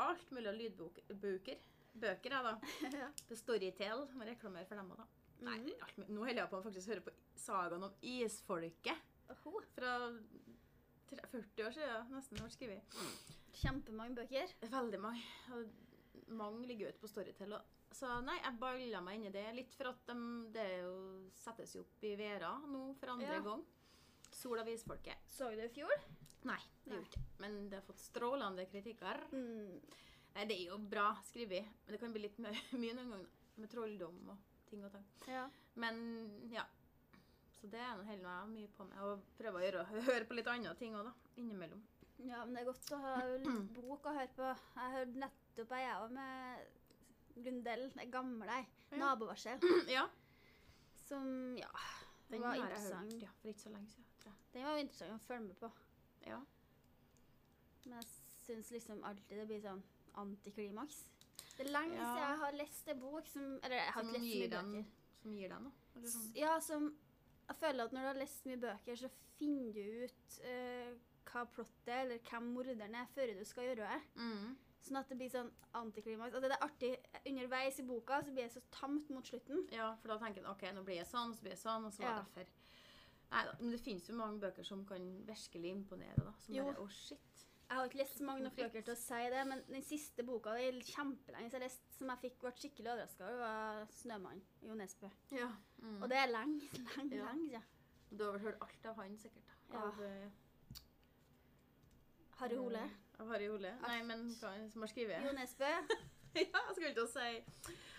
Speaker 2: alt mulig av lydbøker. Bøker, jeg, da.
Speaker 3: Ja.
Speaker 2: På Storytel. Må reklamere for dem òg, da. Nei,
Speaker 3: Mhm.
Speaker 2: alt, mulig. nå holder jeg på å faktisk høre på sagaen om isfolket
Speaker 3: Og ho,
Speaker 2: fra tre- 40 år siden, nesten, ble skrevet.
Speaker 3: Kjempemange bøker.
Speaker 2: Veldig mange. Og mange ligger ute på Storytel. Og, så nei, jeg balla meg inn i det. Litt for at dem- det er jo, settes jo opp i væra nå for andre
Speaker 3: Ja.
Speaker 2: gang. Sol av isfolket.
Speaker 3: Så du i fjor?
Speaker 2: Nei, det
Speaker 3: Nei.
Speaker 2: gjorde ikke. Men det har fått strålende kritikker.
Speaker 3: Mm.
Speaker 2: Nei, det er jo bra skrevet, men det kan bli litt mye, mye noen ganger. Med trolldom og ting og tang.
Speaker 3: Ja.
Speaker 2: Men ja. Så det er nå heller noe jeg har mye på meg. Og prøver å gjøre, høre på litt andre ting òg, da. Innimellom.
Speaker 3: Ja, men det er godt å ha litt bok å høre på. Jeg hørte nettopp ei, jeg òg, med Lundell, den gamle ei.
Speaker 2: Ja.
Speaker 3: Nabovarsel.
Speaker 2: Ja.
Speaker 3: Som ja,
Speaker 2: Den
Speaker 3: var
Speaker 2: har jeg
Speaker 3: interessant.
Speaker 2: hørt ja, for ikke så lenge siden, tror jeg.
Speaker 3: Den var jo interessant å følge med på.
Speaker 2: Ja.
Speaker 3: Men jeg syns liksom alltid det blir sånn antiklimaks. Det er lenge
Speaker 2: Ja.
Speaker 3: siden jeg har lest en bok som Eller jeg har
Speaker 2: Som
Speaker 3: ikke lest så
Speaker 2: gir
Speaker 3: mye
Speaker 2: den-
Speaker 3: bøker.
Speaker 2: Som gir deg noe? eller sånn.
Speaker 3: S- Ja, som Jeg føler at når du har lest mye bøker, så finner du ut eh, hva plottet er, eller hvem morderen er, før du skal gjøre det.
Speaker 2: Mm.
Speaker 3: Sånn at det blir sånn antiklimaks. Altså, det er artig underveis i boka, så blir det så tamt mot slutten.
Speaker 2: Ja, for da tenker en OK, nå blir jeg sånn, så blir jeg sånn, og så var
Speaker 3: Ja.
Speaker 2: det derfor. Neida, men det finnes jo mange bøker som kan virkelig imponere, da. Som
Speaker 3: Jo.
Speaker 2: bare Å, shit.
Speaker 3: Jeg har ikke lest så mange nok bøker til å si det, men den siste boka det er kjempelenge siden jeg leste, som jeg fikk ble skikkelig overraska over, var 'Snømannen' Jo Nesbø.
Speaker 2: Ja. Mm.
Speaker 3: Og det er lenge, lenge,
Speaker 2: Ja.
Speaker 3: lenge siden.
Speaker 2: Du har vel hørt alt av han, sikkert? da.
Speaker 3: Ja.
Speaker 2: Av, eh,
Speaker 3: Harry
Speaker 2: Mm.
Speaker 3: Hole.
Speaker 2: av Harry Ole? Nei,
Speaker 3: Alt.
Speaker 2: men hva er det som har skrevet?
Speaker 3: Jo Nesbø.
Speaker 2: ja, jeg skulle til å si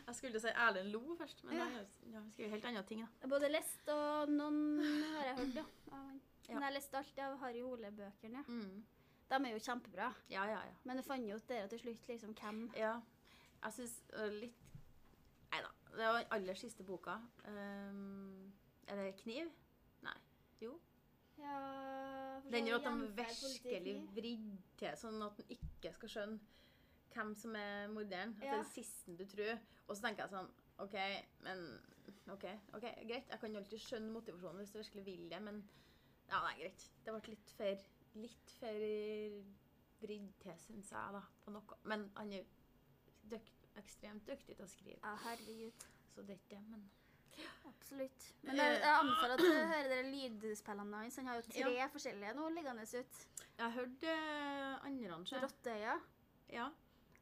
Speaker 2: Jeg skulle til å si Erlend Lo først, men
Speaker 3: Ja.
Speaker 2: han har jo- han skriver helt andre ting, da.
Speaker 3: Jeg har både lest og noen har jeg hørt, ja. av han.
Speaker 2: Ja.
Speaker 3: Men jeg har lest alt av Harry Hole-bøkene.
Speaker 2: Mm.
Speaker 3: De er jo kjempebra.
Speaker 2: Ja, ja, ja.
Speaker 3: Men jeg fant jo ut dere til slutt liksom hvem
Speaker 2: Ja. Jeg syns litt Nei da. Det var den aller siste boka. Ehm, er det 'Kniv'? Nei. Jo.
Speaker 3: Ja for så
Speaker 2: Den gjør at de
Speaker 3: gjenferd,
Speaker 2: virkelig
Speaker 3: politi.
Speaker 2: vrir til, sånn at en ikke skal skjønne hvem som er morderen. At det
Speaker 3: Ja.
Speaker 2: er det siste du tror. Og så tenker jeg sånn OK, men OK, ok, greit. Jeg kan jo alltid skjønne motivasjonen hvis du virkelig vil det, men Ja, nei, greit. Det ble litt for litt for vridd til, syns jeg, da, på noe. Men han er døkt, ekstremt dyktig til å skrive,
Speaker 3: Ja, herregud.
Speaker 2: så det er ikke det, men
Speaker 3: Absolutt. Men jeg, jeg anbefaler at du hører dere lydspillene hans. Han har jo tre forskjellige nå liggende ut.
Speaker 2: Jeg har hørt uh, andre kanskje.
Speaker 3: Rotteøya.
Speaker 2: Ja.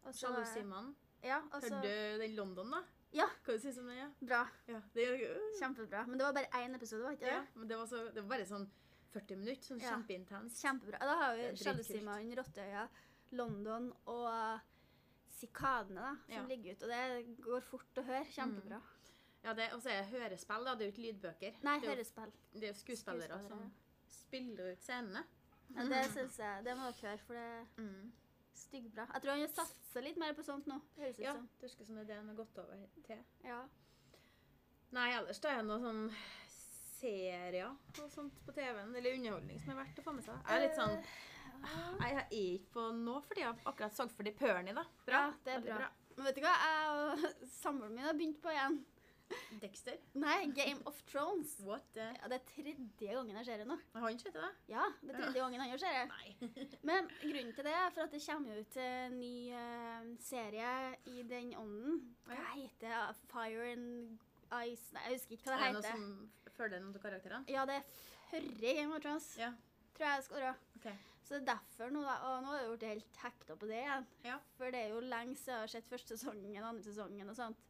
Speaker 3: og så-
Speaker 2: Sjalusimannen.
Speaker 3: Ja, og så-
Speaker 2: Hørte du den London, da?
Speaker 3: Ja.
Speaker 2: Hva du synes om den? Ja?
Speaker 3: Bra.
Speaker 2: Ja, det, er jo-
Speaker 3: Kjempebra. Men det var bare én episode, var ikke
Speaker 2: ja.
Speaker 3: det?
Speaker 2: Men det var, så, det var bare sånn 40 minutter, sånn
Speaker 3: Ja.
Speaker 2: kjempeintens.
Speaker 3: Kjempebra. Da har vi
Speaker 2: Det er dritkult.
Speaker 3: Sjalusimannen, Rotteøya, London og eh, Sikadene, da, som
Speaker 2: Ja.
Speaker 3: ligger ute. Og det går fort å høre. Kjempebra.
Speaker 2: Ja, det, og så er det hørespill, da. Det er jo ikke lydbøker.
Speaker 3: Nei,
Speaker 2: det er jo,
Speaker 3: hørespill.
Speaker 2: det er jo skuespillere
Speaker 3: skuespillere, ja.
Speaker 2: som spiller ut scenene.
Speaker 3: Ja,
Speaker 2: Mm.
Speaker 3: det syns jeg. Det må dere høre, for det er styggbra. Jeg tror han har satsa litt mer på sånt nå. Høres ut
Speaker 2: Ja,
Speaker 3: som.
Speaker 2: det virker som det er det han har gått over til.
Speaker 3: Ja.
Speaker 2: Nei, ellers da er det noen sånn serier og sånt på TV-en, eller underholdning som er verdt å få med seg. Jeg er litt sånn
Speaker 3: Eh,
Speaker 2: Jeg er ikke på nå fordi jeg akkurat så ferdig Perny, da. Bra.
Speaker 3: Ja, det er
Speaker 2: Veldig
Speaker 3: bra. Men vet du hva? Jeg og samboeren min har begynt på igjen.
Speaker 2: bra. Dexter.
Speaker 3: Nei, Game of Thrones.
Speaker 2: What the
Speaker 3: Ja, det er tredje gangen jeg ser det nå.
Speaker 2: Har han ikke hett det?
Speaker 3: Ja, det er tredje gangen han gjør serie.
Speaker 2: Nei.
Speaker 3: Men grunnen til det er for at det kommer jo ut en ny eh, serie i den ånden.
Speaker 2: Å
Speaker 3: Hva
Speaker 2: ja.
Speaker 3: heter det? Fire and Ice Nei, jeg husker ikke hva
Speaker 2: Er
Speaker 3: det
Speaker 2: det noe
Speaker 3: heter.
Speaker 2: som følger noen av karakterene?
Speaker 3: Ja, det er førre Game of Thrones.
Speaker 2: Ja.
Speaker 3: Tror jeg jeg skåra.
Speaker 2: Ok.
Speaker 3: Så det er derfor nå, da. Og nå har jeg blitt helt hekta på det igjen.
Speaker 2: Ja.
Speaker 3: For det er jo lenge siden jeg har sett første sesongen, andre sesongen og sånt.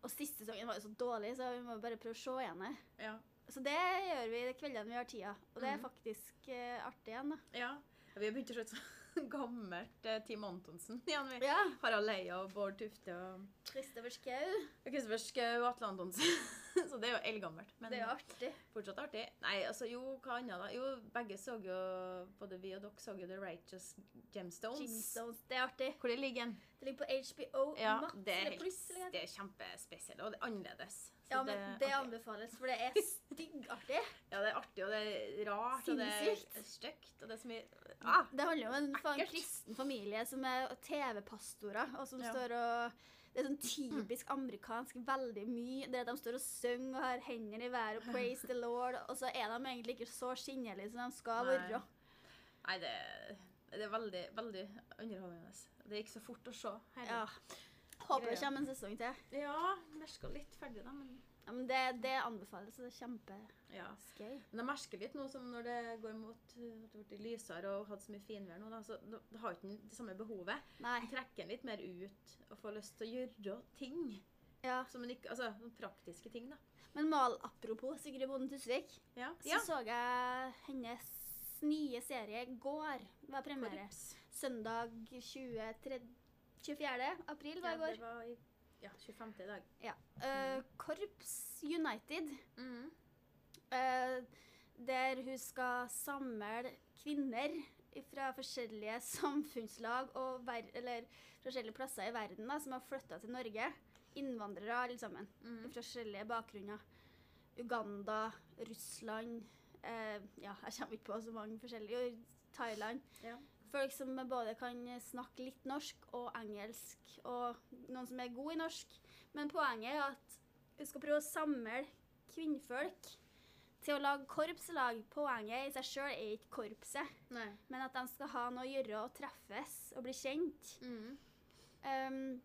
Speaker 3: Og siste sesongen var jo så dårlig, så vi må bare prøve å se igjen det.
Speaker 2: Ja.
Speaker 3: Så det gjør vi de kveldene vi har tida. Og det er
Speaker 2: Mhm.
Speaker 3: faktisk eh, artig igjen, da.
Speaker 2: ja. Vi har begynt å se ut som gammelt eh, Team Antonsen igjen. vi.
Speaker 3: Ja.
Speaker 2: Harald Eia og Bård Tufte og
Speaker 3: Kristoffer Schou.
Speaker 2: og Kristoffer Schou og Atle Antonsen. Så det er jo eldgammelt. Men
Speaker 3: Det er jo artig.
Speaker 2: fortsatt artig. Nei, altså jo, hva annet da? Jo, begge så jo Både vi og dere så jo The Righteous Gemstones.
Speaker 3: Gemstones. Det er artig.
Speaker 2: Hvor det ligger den?
Speaker 3: Det ligger på HBO
Speaker 2: Ja,
Speaker 3: Max.
Speaker 2: det er,
Speaker 3: eller
Speaker 2: helt,
Speaker 3: pluss, eller hva det
Speaker 2: det er kjempespesielt, og det er annerledes. Så
Speaker 3: heter. ja, men det
Speaker 2: artig.
Speaker 3: anbefales, for det er styggartig.
Speaker 2: Ja, det er artig, og det er rart, og det
Speaker 3: Sinnssykt. Mm.
Speaker 2: er stygt, og det er så mye ah,
Speaker 3: Det handler jo om en faen
Speaker 2: Ekkelt.
Speaker 3: kristen familie som er TV-pastorer, og som
Speaker 2: Ja.
Speaker 3: står og Det er sånn typisk amerikansk veldig mye. Det er at de står og synger og har hendene i været og 'praise the Lord', og så er de egentlig ikke så skinnelige som de skal
Speaker 2: Nei.
Speaker 3: være.
Speaker 2: Nei, det, det er veldig, veldig underholdende. Det gikk så fort å se.
Speaker 3: Ja. Håper det kommer en sesong til.
Speaker 2: ja merka litt ferdig, da, men
Speaker 3: Ja, men det, det anbefales. så Det er kjempeskøy.
Speaker 2: ja. Men jeg merker litt nå som når det går mot uh, at det blir lysere og hatt så mye finvær nå, da, så da da har ikke den det samme behovet.
Speaker 3: Nei.
Speaker 2: Den trekker den litt mer ut og får lyst til å gjøre ting.
Speaker 3: Ja.
Speaker 2: Som en ikke, altså sånne praktiske ting, da.
Speaker 3: Men mal apropos Sigrid Bonde Tusvik,
Speaker 2: Ja.
Speaker 3: så så jeg hennes nye serie i går. Det var premiere.
Speaker 2: Korps.
Speaker 3: Søndag 23, 24. april
Speaker 2: Ja,
Speaker 3: var i
Speaker 2: det
Speaker 3: går.
Speaker 2: var i ja, 25. i dag.
Speaker 3: Eh, Korps United,
Speaker 2: Mm.
Speaker 3: eh, der hun skal samle kvinner fra forskjellige samfunnslag og ver eller forskjellige plasser i verden da, som har flytta til Norge. Innvandrere alle sammen,
Speaker 2: Mm.
Speaker 3: fra forskjellige bakgrunner. Uganda, Russland eh, Ja, jeg kommer ikke på så mange forskjellige. og Thailand.
Speaker 2: Ja.
Speaker 3: Folk som både kan snakke litt norsk og engelsk, og noen som er god i norsk. Men poenget er at vi skal prøve å samle kvinnfolk til å lage korpslag. Poenget i seg sjøl er ikke korpset,
Speaker 2: Nei.
Speaker 3: men at de skal ha noe å gjøre og treffes og bli kjent.
Speaker 2: Mm.
Speaker 3: Um,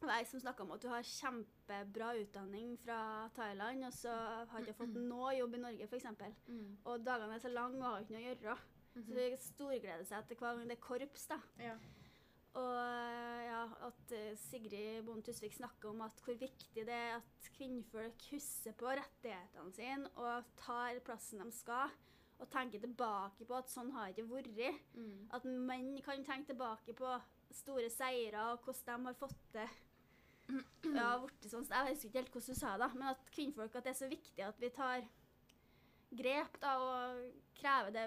Speaker 3: det var jeg som snakka om at du har kjempebra utdanning fra Thailand, og så har ikke jeg fått noe jobb i Norge, f.eks.
Speaker 2: Mm.
Speaker 3: Og dagene er så lange og har ikke noe å gjøre. Så
Speaker 2: Mhm.
Speaker 3: det storgleder seg til hver gang det er korps, da.
Speaker 2: Ja.
Speaker 3: Og ja, at eh, Sigrid Bonde Tusvik snakker om at hvor viktig det er at kvinnfolk husker på rettighetene sine og tar plassen de skal, og tenker tilbake på at sånn har det ikke vært.
Speaker 2: Mm.
Speaker 3: At menn kan tenke tilbake på store seire og hvordan de har fått det. Ja, vært sånn. Jeg husker ikke helt hvordan du sa det, men at kvinnfolk at det er så viktig at vi tar grep da, og krever det,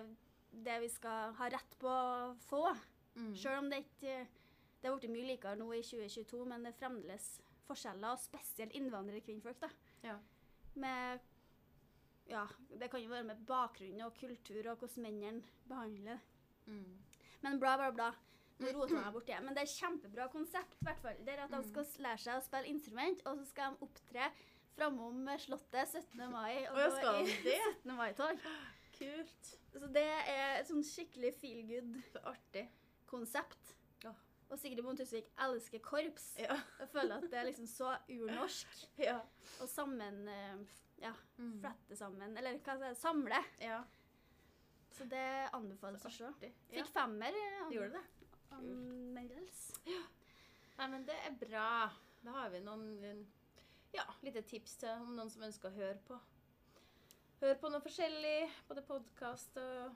Speaker 3: det vi skal ha rett på å få.
Speaker 2: Mm.
Speaker 3: Selv om det ikke Det har blitt mye likere nå i 2022, men det er fremdeles forskjeller, og spesielt innvandrerkvinnfolk. da.
Speaker 2: Ja.
Speaker 3: Med Ja, det kan jo være med bakgrunn og kultur og hvordan mennene behandler
Speaker 2: Mm.
Speaker 3: men bla, bla, bla. Nå roter jeg meg bort igjen. Men det er et kjempebra konsept. i hvert fall. Det er at
Speaker 2: Mm.
Speaker 3: De skal s- lære seg å spille instrument, og så skal de opptre framom Slottet 17. mai. Og
Speaker 2: Å, ja,
Speaker 3: gå
Speaker 2: skal
Speaker 3: i
Speaker 2: de det?
Speaker 3: 17. mai-tog.
Speaker 2: Kult.
Speaker 3: Så det er et sånn skikkelig feel good-konsept.
Speaker 2: Så artig. Ja.
Speaker 3: Og Sigrid Bonde Tusvik elsker korps.
Speaker 2: Ja.
Speaker 3: Jeg føler at det er liksom så urnorsk
Speaker 2: ja.
Speaker 3: og sammen eh, Ja,
Speaker 2: Mm.
Speaker 3: flette sammen. Eller hva skal jeg si, samle.
Speaker 2: ja.
Speaker 3: Så det anbefales å se.
Speaker 2: Artig. Ja.
Speaker 3: Fikk femmer. eh,
Speaker 2: Gjorde det?
Speaker 3: an- anmeldelse.
Speaker 2: Nei, men det er bra. Da har vi noen en- ja, lite tips til om noen som ønsker å høre på. Hør på noe forskjellig, både podkast og,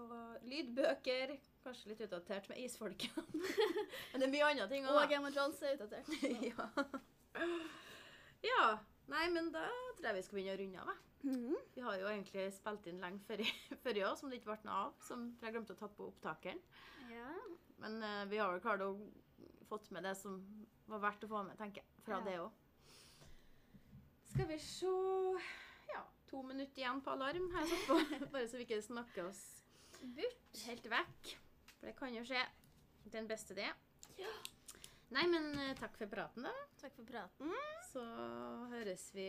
Speaker 2: og lydbøker. Kanskje litt utdatert med isfolkene. men det er mye andre ting
Speaker 3: Og
Speaker 2: òg.
Speaker 3: Game of Thrones er utdatert.
Speaker 2: ja. ja. Nei, men da tror jeg vi skal begynne å runde av. jeg. Vi har jo egentlig spilt inn lenge før i, før i år, som det ikke ble noe av. Som for jeg glemte å ta på opptakeren.
Speaker 3: Ja.
Speaker 2: Men eh, vi har vel klart å fått med det som var verdt å få med, tenker jeg. Fra
Speaker 3: Ja.
Speaker 2: det òg. Skal vi se Ja, to minutter igjen på alarm har jeg satt på. Bare så vi ikke snakker oss bort. Helt vekk. For det kan jo skje. Den beste, det.
Speaker 3: Ja.
Speaker 2: Nei, men eh, takk for praten, da.
Speaker 3: Takk for praten.
Speaker 2: Så høres vi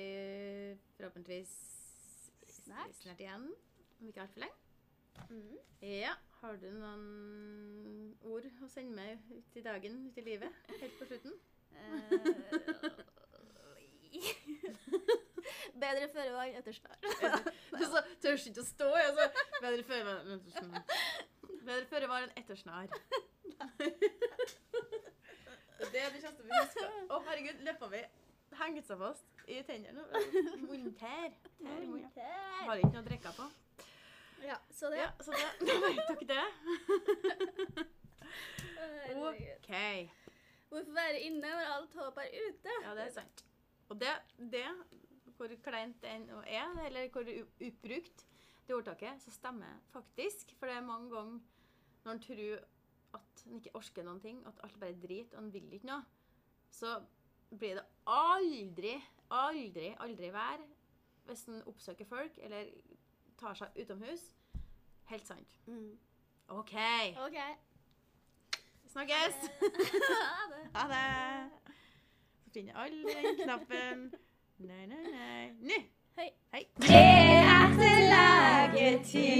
Speaker 2: forhåpentligvis
Speaker 3: Snart.
Speaker 2: snart igjen. Om ikke altfor lenge. Mm. Ja. Har du noen ord å sende meg ut i dagen, ut i livet, helt på slutten?
Speaker 3: Eh, Bedre føre var enn etter snar.
Speaker 2: Du så tør ikke å stå. Jeg så, bedre føre var enn etter snar. Bedre føre var enn etter snar. Det er det kjente vi husker. Å, herregud, leppa mi hengte seg Mm. fast i tennene. Munntær. Tær i munnen. Har ikke noe å drikke på.
Speaker 3: Ja, så det.
Speaker 2: Ja, så det, da vet dere det.
Speaker 3: Herregud.
Speaker 2: OK.
Speaker 3: Hvorfor være inne når alt håp er ute?
Speaker 2: Ja, det er sant. Og det, det hvor kleint det enn er, eller hvor u- utbrukt det ordtaket, så stemmer faktisk. For det er mange ganger når en tror at en ikke orker noen ting, at alt bare er drit, og en vil ikke noe, så blir det aldri, aldri, aldri vær hvis en oppsøker folk eller tar seg utomhus. Helt sant.
Speaker 3: Mm.
Speaker 2: OK,
Speaker 3: OK. Eh,
Speaker 2: snakkes!
Speaker 3: Ha det.
Speaker 2: Ha det! Så finner alle den knappen. Nei, nei, nei. Nå!
Speaker 3: Hei.
Speaker 2: Hei.
Speaker 1: Det er til laget til